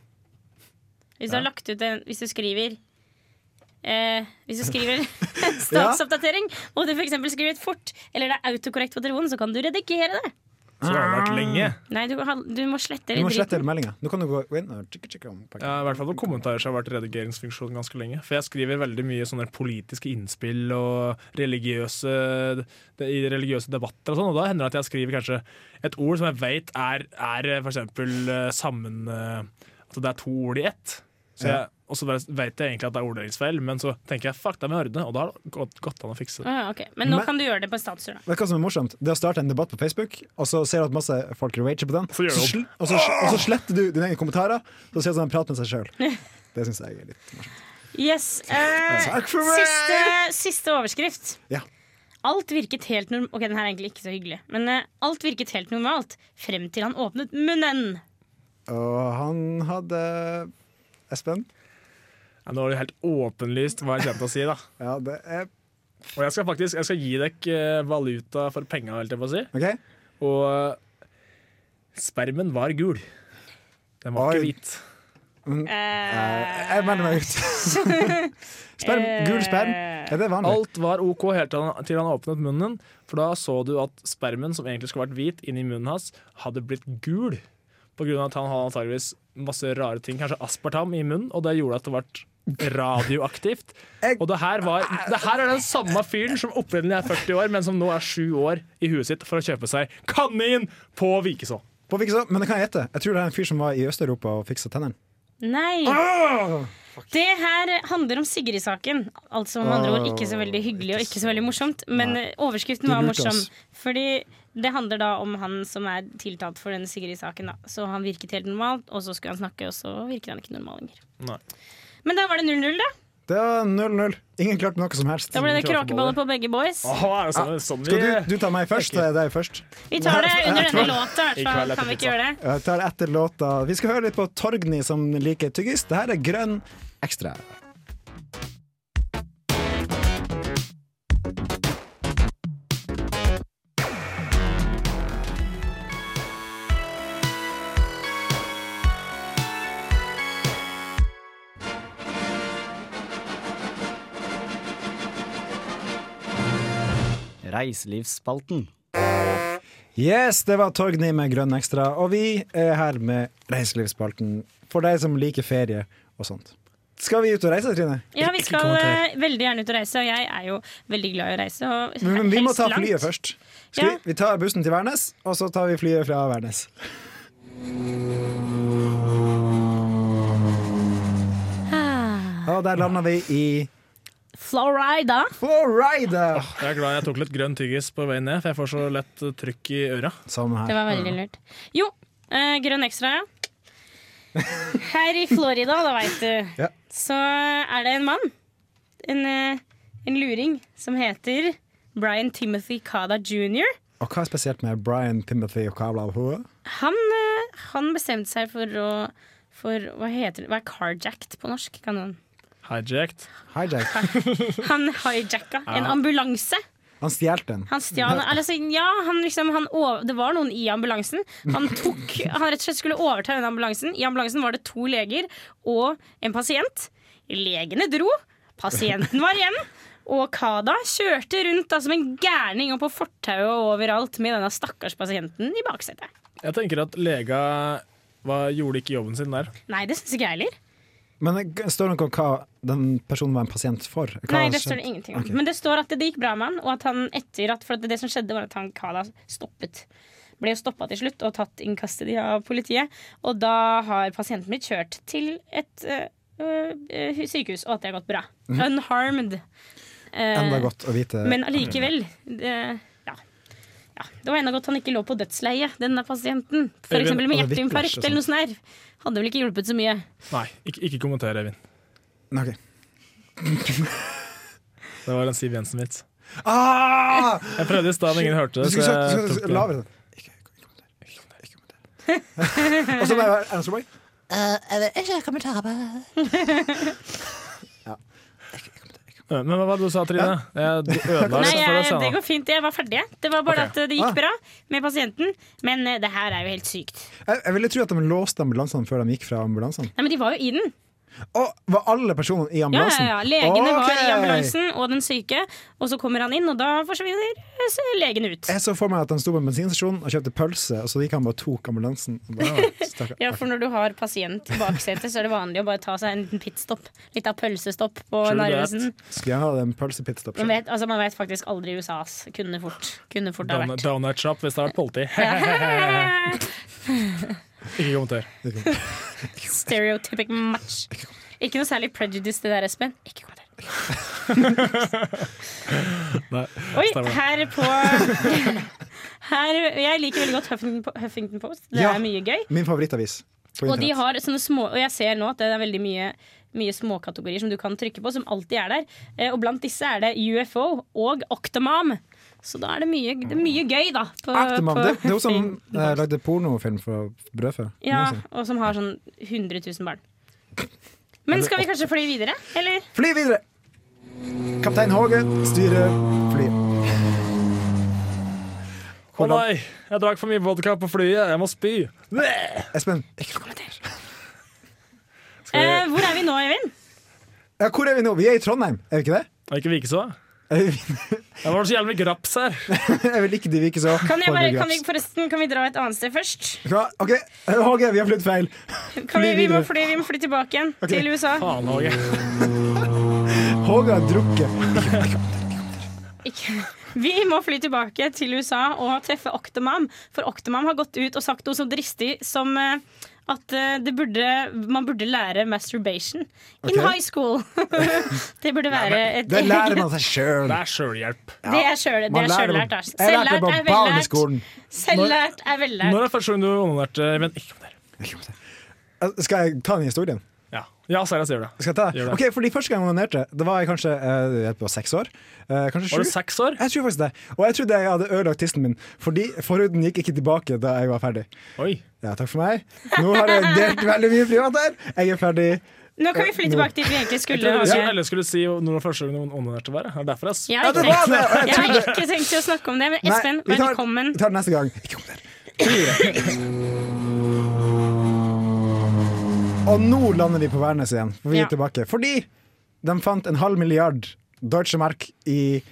Speaker 3: Hvis du har lagt ut en Hvis du skriver eh, Hvis du skriver en statsoppdatering, og du f.eks. skriver et fort, eller det er autokorrekt på telefonen, så kan du redigere det.
Speaker 6: Så det har vært
Speaker 2: Ah.
Speaker 3: Ah,
Speaker 6: lenge.
Speaker 3: Nei, du, har- du må slette
Speaker 2: Du må slette hele
Speaker 3: driten.
Speaker 2: meldinga. Nå kan du gå inn og tjekke, tjekke om pakken.
Speaker 6: Ja, I hvert fall på kommentarer så har det vært redigeringsfunksjon ganske lenge. For jeg skriver veldig mye sånne politiske innspill og religiøse, det, i religiøse debatter og sånn, og da hender det at jeg skriver kanskje et ord som jeg vet er, er for eksempel eh, sammen eh, At det er to ord i ett. Så jeg, og så vet jeg egentlig at det er orddelingsfeil, men så tenker jeg fuck, det er med ordene, og da har det gått, gått an å fikse det.
Speaker 3: Ah, ok. Men nå
Speaker 2: Men-
Speaker 3: kan du gjøre det på statsur, da.
Speaker 2: Vet du hva som er morsomt? Det er å starte en debatt på Facebook, og så ser du at masse folk rager på den.
Speaker 6: Så gjør du
Speaker 2: sl- og, så, og så sletter du dine egne kommentarer, og så ser du sånn prat med seg sjøl. Det syns jeg er litt
Speaker 3: Yes. eh,
Speaker 2: Takk for meg!
Speaker 3: siste, siste overskrift.
Speaker 2: Altså, Ja.
Speaker 3: Alt virket helt norm- Ok, den her er egentlig ikke så hyggelig. Men eh, alt virket helt normalt frem til han åpnet munnen.
Speaker 2: Og han hadde Espen?
Speaker 6: Ja, nå er det helt åpenlyst hva jeg kommer til å si, da.
Speaker 2: Ja, det er
Speaker 6: Og jeg skal faktisk jeg skal gi dere eh, valuta for penga, holdt jeg på å si.
Speaker 2: OK?
Speaker 6: Og eh, spermen var gul. Den var
Speaker 2: Oi.
Speaker 6: ikke hvit.
Speaker 2: Eh, Jeg melder meg ut. sperm. Gul sperm.
Speaker 3: Eh.
Speaker 2: Er det vanlig?
Speaker 6: Alt var OK helt til han, til han åpnet munnen, for da så du at spermen, som egentlig skulle vært hvit, inni munnen hans, hadde blitt gul. På grunn av at han hadde antageligvis masse rare ting, kanskje aspartam i munnen, og det gjorde at det ble radioaktivt. Og det her, var, det her er den samme fyren som opprinnelig er 40 år, men som nå er sju år i huet sitt for å kjøpe seg kanin på Vikeså.
Speaker 2: På Vikeså, men det kan jeg gjette. Jeg tror det er en fyr som var i Øst-Europa og fiksa tennene.
Speaker 3: Nei!
Speaker 2: Ah,
Speaker 3: Det her handler om Sigrid-saken. Altså med andre ord ikke så
Speaker 2: Ah,
Speaker 3: veldig hyggelig og ikke så veldig morsomt. Men eh, overskriften
Speaker 2: Du
Speaker 3: var
Speaker 2: lurte
Speaker 3: morsom.
Speaker 2: oss.
Speaker 3: Fordi det handler da om han som er tiltalt for den Sigrid-saken. da Så han virket helt normalt, og så skulle han snakke, og så virker han ikke normal lenger.
Speaker 6: Nei.
Speaker 3: Men da var det 0-0, da.
Speaker 2: Det er 0-0. Ingen klarte noe som helst.
Speaker 3: Da ble det kråkeboller på begge boys.
Speaker 2: Ah.
Speaker 6: Åh, er det sånn, sånn vi
Speaker 2: Skal du, du ta meg først? Det er deg først.
Speaker 3: Vi tar det under denne låta, i
Speaker 6: I
Speaker 3: hvert
Speaker 6: kveld
Speaker 3: fall.
Speaker 6: er
Speaker 3: Kan vi ikke gjøre det?
Speaker 2: Jeg tar etter låta. Vi skal høre litt på Torgny som liker tyggis. Det her er Grønn ekstra.
Speaker 11: Reiselivsspalten.
Speaker 2: Yes, det var Torgny med Grønn ekstra, og vi er her med Reiselivsspalten for deg som liker ferie og sånt. Skal vi ut og reise, Trine?
Speaker 3: Ja, vi skal
Speaker 2: Ikke
Speaker 3: eh,
Speaker 2: kommentere.
Speaker 3: veldig gjerne ut og reise, og jeg er jo veldig glad i å reise. Og
Speaker 2: Men, men vi må
Speaker 3: helst
Speaker 2: ta
Speaker 3: langt.
Speaker 2: flyet først. Skal
Speaker 3: Ja.
Speaker 2: vi, vi tar bussen til Værnes, og så tar vi flyet fra Værnes.
Speaker 3: Ah,
Speaker 2: Og der landa vi i
Speaker 3: Florida.
Speaker 2: Florida!
Speaker 6: Jeg er glad jeg tok litt grønn tyggis på veien ned, for jeg får så lett eh, trykk i øra.
Speaker 3: Det var veldig lurt. Jo, eh, grønn ekstra, ja. Her i Florida, da veit du,
Speaker 2: Ja.
Speaker 3: så er det en mann. En, eh, en luring som heter Brian Timothy Cada jr.
Speaker 2: Og hva er spesielt med Brian Timothy og Kavla og Hoa?
Speaker 3: Han, eh, han bestemte seg for å for, hva heter det? Hva er carjacked på norsk? Kan noen?
Speaker 6: Hijacked.
Speaker 2: Hijack.
Speaker 3: Han hijacka en
Speaker 6: Ja.
Speaker 3: ambulanse.
Speaker 2: Han stjal den.
Speaker 3: Han stjal altså, Ja, han liksom, han over, det var noen i ambulansen. Han tok Han rett og slett skulle overta den ambulansen. I ambulansen var det to leger og en pasient. Legene dro, pasienten var igjen. Og Kada kjørte rundt da, som en gærning og på fortauet og overalt med denne stakkars pasienten i baksetet.
Speaker 6: Jeg tenker at lega var, gjorde ikke jobben sin der.
Speaker 3: Nei, det syns ikke jeg heller.
Speaker 2: Men det står det noe om hva den personen var en pasient for? Hva
Speaker 3: Nei,
Speaker 2: har
Speaker 3: det står
Speaker 2: skjedd?
Speaker 3: det ingenting om.
Speaker 2: Ok.
Speaker 3: Men det står at det gikk bra med han, og at han etter at For at det som skjedde, var at han Kada stoppet. Ble jo stoppa til slutt og tatt in custody av politiet. Og da har pasienten blitt kjørt til et øh, øh, sykehus, og at det har gått bra. Unharmed. Eh,
Speaker 2: Mhm. Enda godt å vite.
Speaker 3: Men allikevel. det- Ja. ja. Det var enda godt han ikke lå på dødsleiet, denne pasienten. For
Speaker 6: Øyvind,
Speaker 3: eksempel med
Speaker 6: og det er whiplash
Speaker 3: hjerteinfarkt
Speaker 6: og
Speaker 3: eller noe sånt. her. Hadde vel ikke hjulpet så mye.
Speaker 6: Nei, ikke, ikke kommenter, Eivind.
Speaker 2: Ok.
Speaker 6: Det var en Siv Jensen-vits.
Speaker 2: Ah!
Speaker 6: Jeg prøvde i stad, men ingen hørte
Speaker 2: Du
Speaker 6: det.
Speaker 2: skulle
Speaker 6: så
Speaker 2: sagt
Speaker 6: jeg
Speaker 2: du
Speaker 6: tok
Speaker 2: skulle
Speaker 6: den.
Speaker 2: lavere den. Ikke kommenter. Ikke kommenter. Ikke kommenter. Og så bare Ernest Roy.
Speaker 10: Eh, jeg vil ikke kommentere på
Speaker 6: Men hva var det du sa, Trine? Jeg ødela
Speaker 3: Nei,
Speaker 6: litt for
Speaker 3: jeg,
Speaker 6: oss.
Speaker 3: det
Speaker 6: jeg nå.
Speaker 3: går fint. Jeg var ferdig. jeg. Det var bare
Speaker 6: Ok.
Speaker 3: at det gikk bra med pasienten. Men eh, det her er jo helt sykt.
Speaker 2: Jeg, jeg ville tro at de låste ambulansene før de gikk fra ambulansene.
Speaker 3: Nei, men de var jo i den.
Speaker 2: Å, var alle personene i
Speaker 3: Ja, ja,
Speaker 2: ambulansen?
Speaker 3: ja. Legene var i
Speaker 2: Ok.
Speaker 3: ambulansen og den syke. Og så kommer han inn, og da forsvinner eh, s- legen ut.
Speaker 2: Jeg så for meg at han sto på en bensinstasjon og kjøpte pølse, og så gikk han bare og tok ambulansen. Og Bare, «Å, stakkar».
Speaker 3: Ja, for når du har pasient i baksetet, så er det vanlig å bare ta seg en liten pitstop. Litt av pølsestopp på
Speaker 6: True
Speaker 3: Narvesen.
Speaker 2: Skulle gjerne hatt en pølsepitstop.
Speaker 3: Man vet, altså, man vet faktisk aldri i USA, ass. Kunne fort, kunne fort ha
Speaker 6: Donut-
Speaker 3: vært.
Speaker 6: Donut shop hvis det hadde vært politi. Ikke kommenter.
Speaker 3: Stereotypic match. Ikke noe særlig prejudice det der, Espen. Ikke kommenter.
Speaker 6: Nei,
Speaker 3: Oi,
Speaker 6: stemmer det.
Speaker 3: her på her, Jeg liker veldig godt Huffington, Huffington Post. Det
Speaker 2: Ja.
Speaker 3: er mye gøy.
Speaker 2: Min favorittavis. På
Speaker 3: Og de
Speaker 2: internett.
Speaker 3: har sånne små Og jeg ser nå at det er veldig mye mye småkategorier som du kan trykke på, som alltid er der. Eh, Og blant disse er det UFO og Octomam. Så da er det mye, det er mye gøy, da. På,
Speaker 2: Afterman,
Speaker 3: Eh, på
Speaker 2: det, det er hun som
Speaker 3: Huffington Post.
Speaker 2: eh, lagde pornofilm for Brødfø.
Speaker 3: Ja, og som har sånn 100 000 barn. Men skal vi kanskje fly videre, eller?
Speaker 2: Fly videre! Kaptein Håge styrer flyet.
Speaker 6: Å nei, jeg drakk for mye vodka på flyet. Jeg må spy.
Speaker 2: Espen,
Speaker 6: Skal vi
Speaker 3: Eh, hvor er vi nå, Evin?
Speaker 2: ja, hvor er vi nå? Vi er i Trondheim, er vi ikke det?
Speaker 6: Er det ikke Vikeså?
Speaker 2: Er
Speaker 6: Det var så jævlig mye graps her.
Speaker 2: Jeg vil ikke de virke så
Speaker 3: Kan, jeg bare, kan vi forresten kan vi dra et annet sted først?
Speaker 2: Hva? OK, Håge, vi har flyttet feil.
Speaker 3: Kan vi,
Speaker 2: Fly
Speaker 3: vi, må
Speaker 2: videre.
Speaker 3: fly, vi må fly tilbake igjen til USA.
Speaker 6: Faen, Åge.
Speaker 2: Mm. Håge har drukket.
Speaker 3: Ikke. Vi må fly tilbake til USA og treffe Octomam. For Octomam har gått ut og sagt noe så dristig som eh, at eh, det burde, man burde lære masturbation in
Speaker 2: Ok.
Speaker 3: high school. det burde være et
Speaker 2: Det lærer man seg sjøl.
Speaker 6: Det er sjølhjelp.
Speaker 3: Det er sjøl- det
Speaker 2: Man lærer
Speaker 3: er
Speaker 2: det.
Speaker 3: sjøllært. altså.
Speaker 2: Jeg lærte det
Speaker 3: Selvlært
Speaker 2: på
Speaker 3: er vellært.
Speaker 2: barneskolen.
Speaker 3: Selvlært er
Speaker 6: Når
Speaker 3: vellært.
Speaker 6: er det første gang du onanerte? Men ikke om det.
Speaker 2: Eh, Skal jeg ta den historien?
Speaker 6: Ja, ja seriøst gjør det.
Speaker 2: Skal jeg ta?
Speaker 6: Gjør det.
Speaker 2: Ok, fordi Første gang jeg onanerte, Da var jeg kanskje eh, jeg var seks år. Eh, kanskje sju.
Speaker 6: Var du seks år?
Speaker 2: Jeg tror faktisk det. Og jeg trodde jeg hadde ødelagt tissen min, fordi forhuden gikk ikke tilbake da jeg var ferdig.
Speaker 6: Oi.
Speaker 2: Ja, takk for meg. Nå har jeg delt veldig mye privat her. Jeg er ferdig.
Speaker 3: Nå kan vi fly tilbake dit vi egentlig
Speaker 6: Jeg trodde
Speaker 3: skulle.
Speaker 6: jeg
Speaker 3: Åge.
Speaker 6: skulle- eller skulle si når det var første gang du onanerte var. Det er derfor, ass.
Speaker 3: Jeg har
Speaker 2: det
Speaker 3: ikke
Speaker 2: var det.
Speaker 3: tenkt,
Speaker 2: Jeg
Speaker 3: jeg har ikke tenkt å snakke om det, men
Speaker 2: Nei,
Speaker 3: Espen,
Speaker 2: vi tar,
Speaker 3: velkommen.
Speaker 2: vi tar det neste gang. Ikke kom der. Og nå lander vi på Værnes igjen. For vi er
Speaker 3: Ja.
Speaker 2: tilbake. Fordi de fant en halv milliard Deutsche Mark i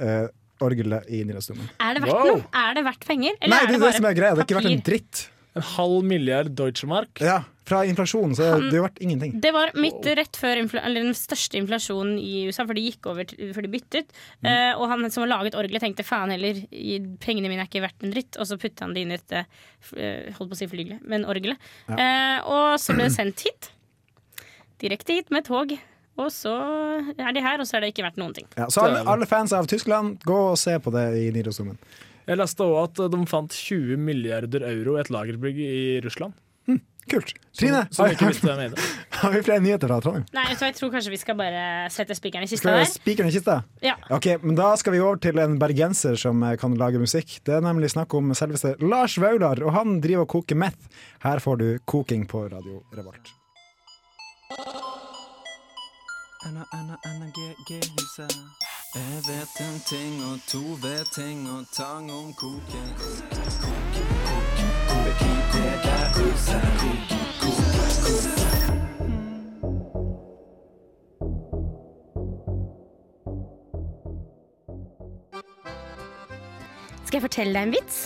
Speaker 2: eh, orgelet i Nidarosdomen.
Speaker 3: Er det verdt
Speaker 6: Wow.
Speaker 3: noe? Er det verdt penger?
Speaker 2: Nei,
Speaker 3: Eller
Speaker 2: det
Speaker 3: er
Speaker 2: er det som er greia. Det har ikke vært en
Speaker 3: papir?
Speaker 2: dritt.
Speaker 6: En halv milliard deutsche mark.
Speaker 2: Ja, fra inflasjonen så har det jo vært ingenting.
Speaker 3: Det var midt rett før infla eller den største inflasjonen i USA, for de gikk over til, for de byttet.
Speaker 2: Mm.
Speaker 3: Eh, og han som har laget orgelet, tenkte faen heller, i- pengene mine er ikke verdt en dritt. Og så puttet han det inn i et eh, f- eh, holdt på å si flygelet, men orgelet. Eh, og så ble det sendt hit. Direkte hit med tog. Og så er de her, og så er det ikke verdt noen ting.
Speaker 2: Ja, så alle, alle fans av Tyskland, gå og se på det i Nidarosdomen.
Speaker 6: Jeg leste òg at de fant 20 milliarder euro i et lagerbygg i Russland.
Speaker 2: Kult. Trine,
Speaker 6: Som
Speaker 2: har,
Speaker 6: jeg ikke visste hvem eide.
Speaker 2: har vi flere nyheter fra Trondheim?
Speaker 3: Nei, vet du hva, jeg tror kanskje vi skal bare sette spikeren i kista
Speaker 2: Skal vi
Speaker 3: der.
Speaker 2: spikeren i kista?
Speaker 3: Ja.
Speaker 2: Ok, men Da skal vi over til en bergenser som eh, kan lage musikk. Det er nemlig snakk om selveste Lars Vaular, og han driver og koker meth. Her får du koking på Radio Revolt.
Speaker 3: Skal jeg fortelle deg en vits?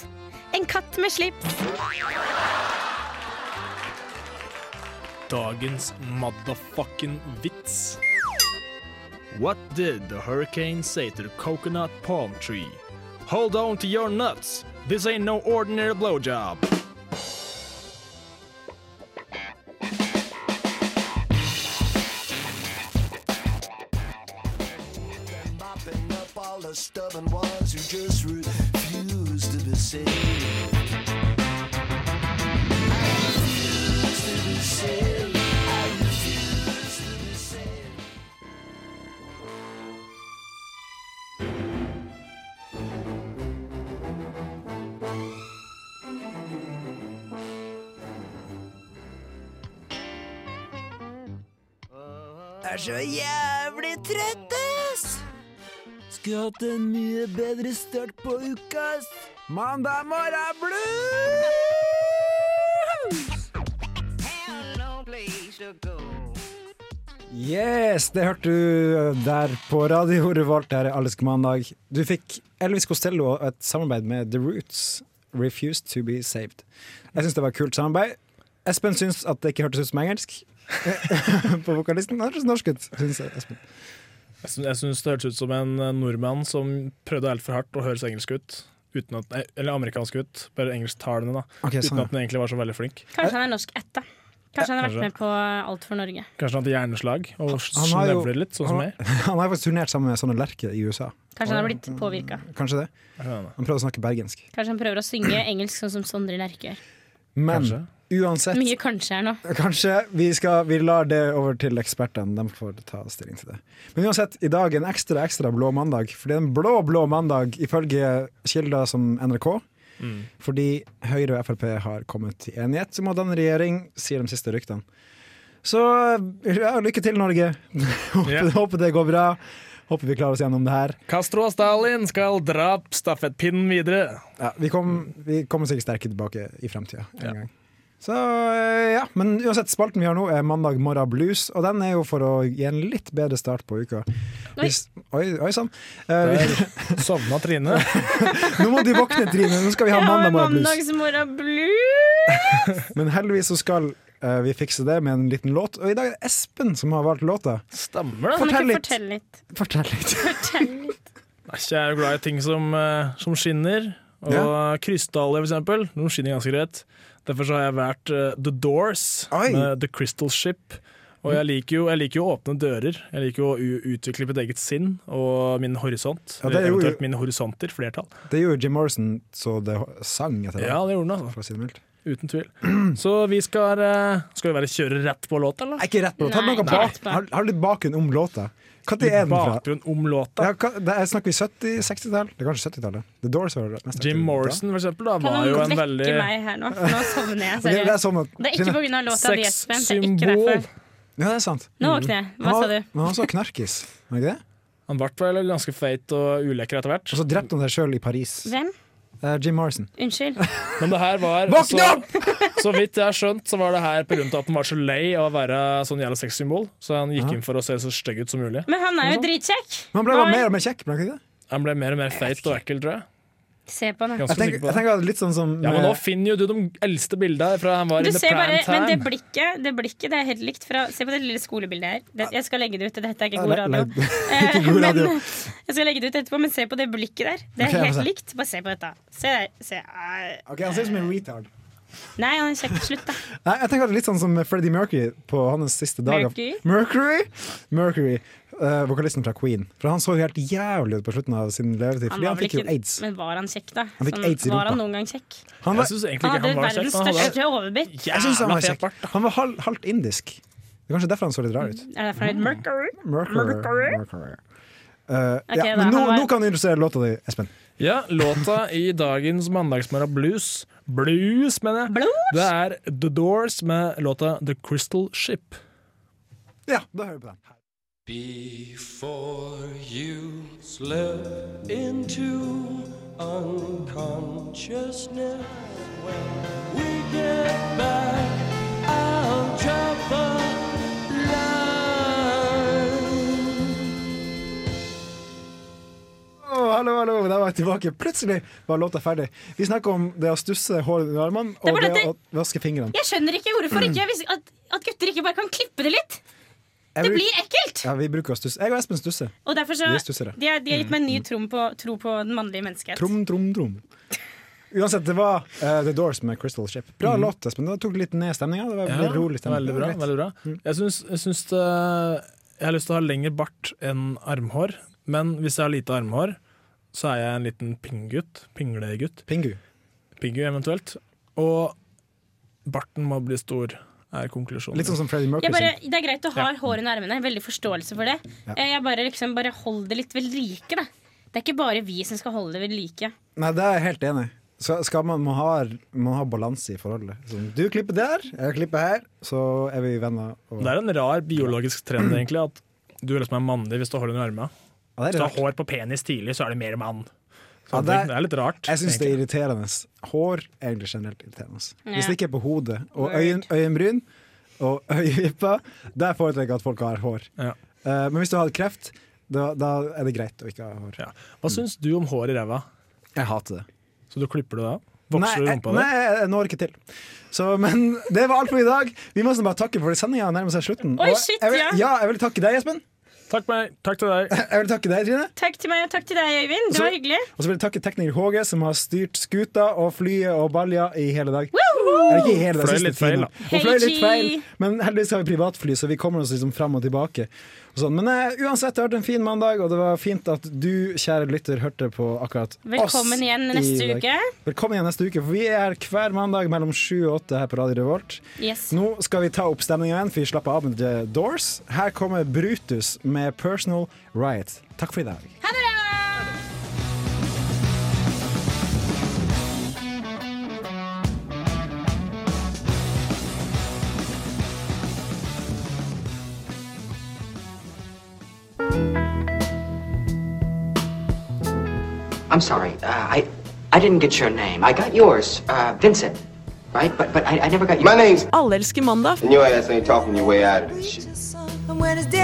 Speaker 3: En katt med slips.
Speaker 6: Dagens motherfucking vits. What did the hurricane say to the coconut palm tree? Hold on to your nuts. This ain't no ordinary blowjob.
Speaker 10: Jeg er så jævlig trøtt, ass! Skulle hatt en mye bedre start på uka, ass. Mandag morgen er blues!
Speaker 2: Yes, det hørte du eh, der på Radio Revolt. Her er Alles mandag. Du fikk Elvis Costello og et samarbeid med The Roots. Refused to be saved. Jeg syns det var et kult samarbeid. Espen syns at det ikke hørtes ut som engelsk. på vokalisten. Det hørtes norsk ut, syns Espen.
Speaker 6: Jeg syns, jeg syns det hørtes ut som en eh, nordmann som prøvde altfor hardt å høres engelsk ut. Uten at, eh, eller amerikansk ut, bare engelsktalende, da.
Speaker 2: Ok,
Speaker 6: Uten
Speaker 2: sånn, ja.
Speaker 6: at han egentlig var så veldig flink.
Speaker 3: Kanskje han er norsk etta. Kanskje han har
Speaker 6: Kanskje.
Speaker 3: vært med på Alt for Norge.
Speaker 6: Kanskje han hadde hjerneslag og
Speaker 2: Han har jo-
Speaker 6: snevler litt, sånn som
Speaker 2: han-
Speaker 6: meg.
Speaker 2: Han har faktisk turnert sammen med Sånne Lerche i USA.
Speaker 3: Kanskje han har blitt påvirka.
Speaker 2: Kanskje det?
Speaker 6: Jeg skjønner.
Speaker 2: Han prøver å snakke bergensk.
Speaker 3: Kanskje han prøver å synge engelsk sånn som Sondre Lerche gjør.
Speaker 2: Men
Speaker 6: Kanskje.
Speaker 2: uansett
Speaker 3: Mye kanskje her nå.
Speaker 2: Kanskje vi, skal, vi lar det over til ekspertene. De får ta stilling til det. Men uansett, i dag en ekstra ekstra blå mandag. For det er en blå blå mandag ifølge kilder som NRK. Fordi Høyre og Frp har kommet til enighet om å danne regjering, sier de siste ryktene. Så ja, lykke til, Norge. håper,
Speaker 6: Ja.
Speaker 2: håper det går bra. Håper vi klarer oss gjennom det her.
Speaker 6: Castro og Stalin skal dra stafettpinnen videre.
Speaker 2: Ja, vi, kom, vi kommer sikkert sterke tilbake i fremtida en gang. Så eh, ja, Men uansett, spalten vi har nå er Mandag morgen blues, og den er jo for å gi en litt bedre start på uka. Hvis, oi, oi sann. Eh, vi-
Speaker 6: Der Sovna Trine.
Speaker 2: nå må du våkne, Trine. Nå skal vi ha mandagsmorgenblues.
Speaker 3: mandagsmorgenblues!
Speaker 2: Men heldigvis så skal eh, vi fikse det med en liten låt. Og i dag er det Espen som har valgt låta.
Speaker 6: Stemmer det.
Speaker 3: Kan du
Speaker 2: Fortell
Speaker 3: ikke
Speaker 2: litt.
Speaker 3: fortelle
Speaker 2: Fortell
Speaker 3: litt?
Speaker 2: litt.
Speaker 3: Fortell litt.
Speaker 6: Nei, Jeg er jo glad i ting som, eh, som skinner. Og
Speaker 2: Ja.
Speaker 6: krystaller, for eksempel. De skinner ganske greit. Derfor så har jeg valgt eh, The Doors
Speaker 2: Oi.
Speaker 6: med The Crystal Ship. Og jeg liker, jo, jeg liker jo å åpne dører. Jeg liker jo å u- utvikle mitt eget sinn og min horisont.
Speaker 2: Ja, det er
Speaker 6: Eller
Speaker 2: jo-
Speaker 6: eventuelt mine horisonter, flertall.
Speaker 2: Det gjorde Jim Morrison så det sang etter det.
Speaker 6: Ja, det gjorde den, altså.
Speaker 2: For å si det mildt.
Speaker 6: Uten tvil. Så vi skal eh, Skal vi bare kjøre rett på låta, eller?
Speaker 2: Nei, ikke rett på låta. Har du
Speaker 3: Nei,
Speaker 2: noe
Speaker 3: ikke
Speaker 2: bak,
Speaker 3: rett på.
Speaker 2: har, har du litt bakgrunn om låta? Når er den fra?
Speaker 6: Bakgrunn om låta.
Speaker 2: Ja, hva, det er, snakker vi 70-, 60-tall? Det er kanskje 70-tallet. The Doors var det mest aktuelle
Speaker 6: Jim
Speaker 2: da.
Speaker 6: Morrison, for eksempel, da,
Speaker 3: Kan
Speaker 6: var jo
Speaker 3: noen
Speaker 6: en
Speaker 3: vekke
Speaker 6: veldig
Speaker 3: meg her nå? For nå sovner jeg.
Speaker 2: Ok, det er
Speaker 3: Seriøst.
Speaker 2: sånn at
Speaker 3: Det er ikke pga. låta di, Espen. Det er ikke
Speaker 6: Sexsymbol.
Speaker 3: derfor.
Speaker 2: Ja, det er sant.
Speaker 3: Nå våkner jeg. Hva
Speaker 2: Han var-
Speaker 3: sa du?
Speaker 2: Men han var så knarkis, var ikke det?
Speaker 6: Han ble vel ganske feit og ulekker etter hvert.
Speaker 2: Og så drepte han seg sjøl i Paris.
Speaker 3: Hvem?
Speaker 2: Eh, Jim Morrison.
Speaker 3: Unnskyld.
Speaker 6: Men det her var altså-
Speaker 2: Våkne
Speaker 6: Så, så vidt jeg har skjønt, så var det her pga. at han var så lei av å være sånn jævla sexsymbol, så han gikk inn for å se så stygg ut som mulig.
Speaker 3: Men han er jo dritkjekk.
Speaker 2: Men han ble bare
Speaker 3: Oi.
Speaker 2: mer og mer kjekk, ble han ikke det?
Speaker 6: Han ble mer og mer feit og ekkel, tror jeg.
Speaker 3: Se på han, da.
Speaker 2: Jeg
Speaker 6: Ganske
Speaker 2: tenker,
Speaker 6: sikker
Speaker 2: jeg
Speaker 6: på det.
Speaker 2: tenker at litt sånn som
Speaker 6: Ja, men nå
Speaker 2: med-
Speaker 6: finner jo du de eldste bildene fra han var
Speaker 3: Du
Speaker 6: in the
Speaker 3: ser bare,
Speaker 6: prime
Speaker 3: men det
Speaker 6: time.
Speaker 3: blikket, det blikket det er helt likt. Fra, se på det lille skolebildet her. Det, jeg skal legge det ut. Dette er
Speaker 2: Nei,
Speaker 3: ikke god
Speaker 2: nei,
Speaker 3: radio.
Speaker 2: det er
Speaker 3: Eh,
Speaker 2: ikke god radio.
Speaker 3: Men, jeg skal legge det ut etterpå, men se på det blikket der. Det
Speaker 2: Ok,
Speaker 3: er
Speaker 2: jeg må
Speaker 3: helt
Speaker 2: se.
Speaker 3: likt. Bare se på dette. Se der. Se. eh,
Speaker 2: Ok, Han ser ut som en retard.
Speaker 3: Nei, han er kjekk. Slutt, da.
Speaker 2: Nei, jeg tenker at det er litt sånn som med Freddie Mercury på hans siste dag av-
Speaker 3: Mercury?
Speaker 2: Mercury? Mercury eh, vokalisten fra Queen. For han så jo helt jævlig ut på slutten av sin levetid,
Speaker 3: Han
Speaker 2: fordi
Speaker 3: var
Speaker 2: han
Speaker 3: vel
Speaker 2: fikk jo
Speaker 3: ikke-
Speaker 2: aids.
Speaker 3: Men var han kjekk, da? Sånn,
Speaker 2: Han fikk aids i
Speaker 3: var han
Speaker 2: rumpa.
Speaker 3: noen gang kjekk?
Speaker 2: Han var,
Speaker 6: Jeg syns egentlig
Speaker 3: Han
Speaker 6: ikke
Speaker 3: hadde
Speaker 6: han var kjekk.
Speaker 3: verdens
Speaker 6: men Han hadde
Speaker 3: største overbitt.
Speaker 2: jeg synes han var
Speaker 6: jævla fet
Speaker 2: kjekk.
Speaker 6: bart.
Speaker 2: Han var halv, halvt indisk. Det er kanskje derfor han så litt rar ut.
Speaker 3: Er det derfor han het Mercury?
Speaker 2: Mercury. Mercury. Eh,
Speaker 3: Ok,
Speaker 2: ja,
Speaker 3: da,
Speaker 2: men nå,
Speaker 3: han var-
Speaker 2: nå kan du introdusere låta di, Espen.
Speaker 6: Ja, låta i dagens Mandagsmorgen Blues Blues, mener jeg.
Speaker 3: Blues?
Speaker 6: Det er The Doors med låta The Crystal Ship.
Speaker 2: Ja, da hører vi på den.
Speaker 11: Before you slip into unconsciousness, when we get back, I'll drop a line.
Speaker 2: Å, hallo, hallo, der var jeg tilbake. Plutselig var låta ferdig. Vi snakker om det å stusse håret under armene
Speaker 3: Det
Speaker 2: og
Speaker 3: var
Speaker 2: det,
Speaker 3: dette-
Speaker 2: å vaske fingrene.
Speaker 3: Jeg skjønner ikke hvorfor ikke jeg visste at, at gutter ikke bare kan klippe det litt.
Speaker 2: Jeg
Speaker 3: Det
Speaker 2: bruk-
Speaker 3: blir ekkelt!
Speaker 2: Ja, vi bruker å stusse. Jeg og Espen stusser.
Speaker 3: Og derfor så
Speaker 2: Vi er stussere.
Speaker 3: De har de har gitt meg en ny tro på, tro på den mannlige menneskehet.
Speaker 2: Mm. Trom, trom, trom. Uansett, det var eh, The Doors med Crystal Ship. Bra låt, Espen. Det tok litt ned stemninga. Det var
Speaker 6: Mhm. Ja,
Speaker 2: litt rolig stemning.
Speaker 6: Veldig bra.
Speaker 2: Det var liksom. greit. Mm.
Speaker 6: veldig bra. Jeg syns, jeg syns det Jeg har lyst til å ha lengre bart enn armhår, men hvis jeg har lite armhår, så er jeg en liten pinggutt. Pinglegutt.
Speaker 2: Pingu.
Speaker 6: Pingu, eventuelt. Og barten må bli stor, er konklusjonen.
Speaker 2: Litt sånn som Freddie Mercury.
Speaker 3: Jeg bare,
Speaker 2: sin.
Speaker 3: det er greit å ha hår under armene. Veldig forståelse for det. Eh, Jeg bare, liksom, bare hold det litt ved like. Da. Det er ikke bare vi som skal holde det ved like.
Speaker 2: Nei, det er jeg helt enig i. Så Skal man, man ha, man har balanse i forholdet. Sånn, du klipper der, jeg klipper her, så er vi venner. Og,
Speaker 6: Det er en rar biologisk trend, egentlig, at du er liksom en mannlig hvis du har hår under armene.
Speaker 2: Ja, det
Speaker 6: Hvis
Speaker 2: er
Speaker 6: du
Speaker 2: rart.
Speaker 6: har hår på penis tidlig, så er du mer mann.
Speaker 2: Ja,
Speaker 6: Sånne
Speaker 2: det er-
Speaker 6: ting. det er litt rart.
Speaker 2: Jeg syns det
Speaker 6: egentlig.
Speaker 2: er irriterende. Hår er egentlig generelt irriterende.
Speaker 3: Ja.
Speaker 2: Hvis det ikke er på hodet og øyen, øyenbryn og øyevipper, der foretrekker jeg at folk har hår.
Speaker 6: Ja.
Speaker 2: Eh, men hvis du har kreft, da, da er det greit å ikke ha hår.
Speaker 6: Ja. Hva syns du om hår i ræva?
Speaker 2: Jeg hater det.
Speaker 6: Så du klipper det av?
Speaker 2: Nei,
Speaker 6: Vokser
Speaker 2: jeg,
Speaker 6: rumpa
Speaker 2: nei,
Speaker 6: di?
Speaker 2: jeg når ikke til. Så, men det var alt for i dag. Vi må nesten bare takke for sendinga nærmer seg slutten.
Speaker 3: Oi,
Speaker 2: Og
Speaker 3: shit,
Speaker 2: jeg vil,
Speaker 3: ja.
Speaker 2: ja, jeg vil takke deg, Espen.
Speaker 6: Takk, meg. Takk til deg.
Speaker 2: Jeg vil takke deg, Trine.
Speaker 3: Takk til meg og takk til deg, Øyvind. Det
Speaker 2: Så-
Speaker 3: var hyggelig.
Speaker 2: Og så vil jeg takke tekniker Håge, som har styrt skuta og flyet og balja i hele dag. Eller ikke i hele dag,
Speaker 6: Fløy
Speaker 2: siste
Speaker 6: litt feil,
Speaker 2: tiden.
Speaker 6: da.
Speaker 2: Hun fløy litt
Speaker 3: Hei, G.
Speaker 2: feil, men heldigvis har vi privatfly, så vi kommer oss liksom fram og tilbake. Og sånn. Men eh, uansett, det har vært en fin mandag, og det var fint at du, kjære lytter, hørte på akkurat oss.
Speaker 3: Velkommen igjen
Speaker 2: i
Speaker 3: neste
Speaker 2: dag.
Speaker 3: uke.
Speaker 2: Velkommen igjen neste uke, for vi er her hver mandag mellom sju og åtte her på Radio Revolt.
Speaker 3: Yes.
Speaker 2: Nå skal vi ta opp stemninga igjen, for vi slapper av med The Doors. Her kommer Brutus med Personal Riot. Takk for i dag.
Speaker 3: Ha det bra!
Speaker 12: I'm sorry. Uh, I I didn't get your name. I got yours, uh, Vincent, right? But but I, I never got your. My name's.
Speaker 13: Allelske mandag.
Speaker 14: And your ass ain't talking your way out of this shit.
Speaker 5: And when it's